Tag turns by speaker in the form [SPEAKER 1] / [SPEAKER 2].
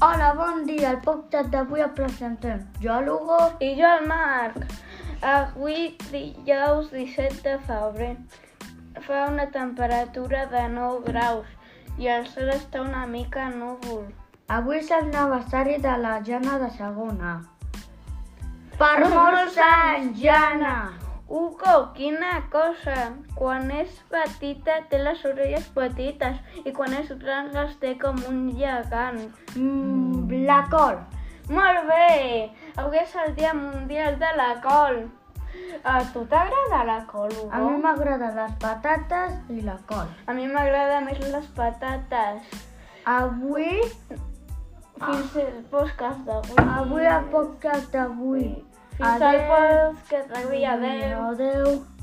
[SPEAKER 1] Hola, bon dia. El podcast d'avui el presentem jo, l'Hugo.
[SPEAKER 2] I jo el Marc. Avui, dijous 17 de febrer, fa una temperatura de 9 graus i el sol està una mica núvol.
[SPEAKER 1] Avui és l'aniversari de la Jana de segona. Per molts anys, Jana!
[SPEAKER 2] Hugo, quina cosa! Quan és petita té les orelles petites i quan és gran les té com un gegant.
[SPEAKER 1] Mm, la col.
[SPEAKER 2] Molt bé! Avui és el Dia Mundial de la Col. A tu t'agrada la col, Hugo?
[SPEAKER 1] A mi m'agraden les patates i la col.
[SPEAKER 2] A mi m'agrada més les patates.
[SPEAKER 1] Avui,
[SPEAKER 2] Fins al podcast d'avui.
[SPEAKER 1] Ah, avui el podcast d'avui.
[SPEAKER 2] Fins al podcast d'avui. Adéu.
[SPEAKER 1] Adéu.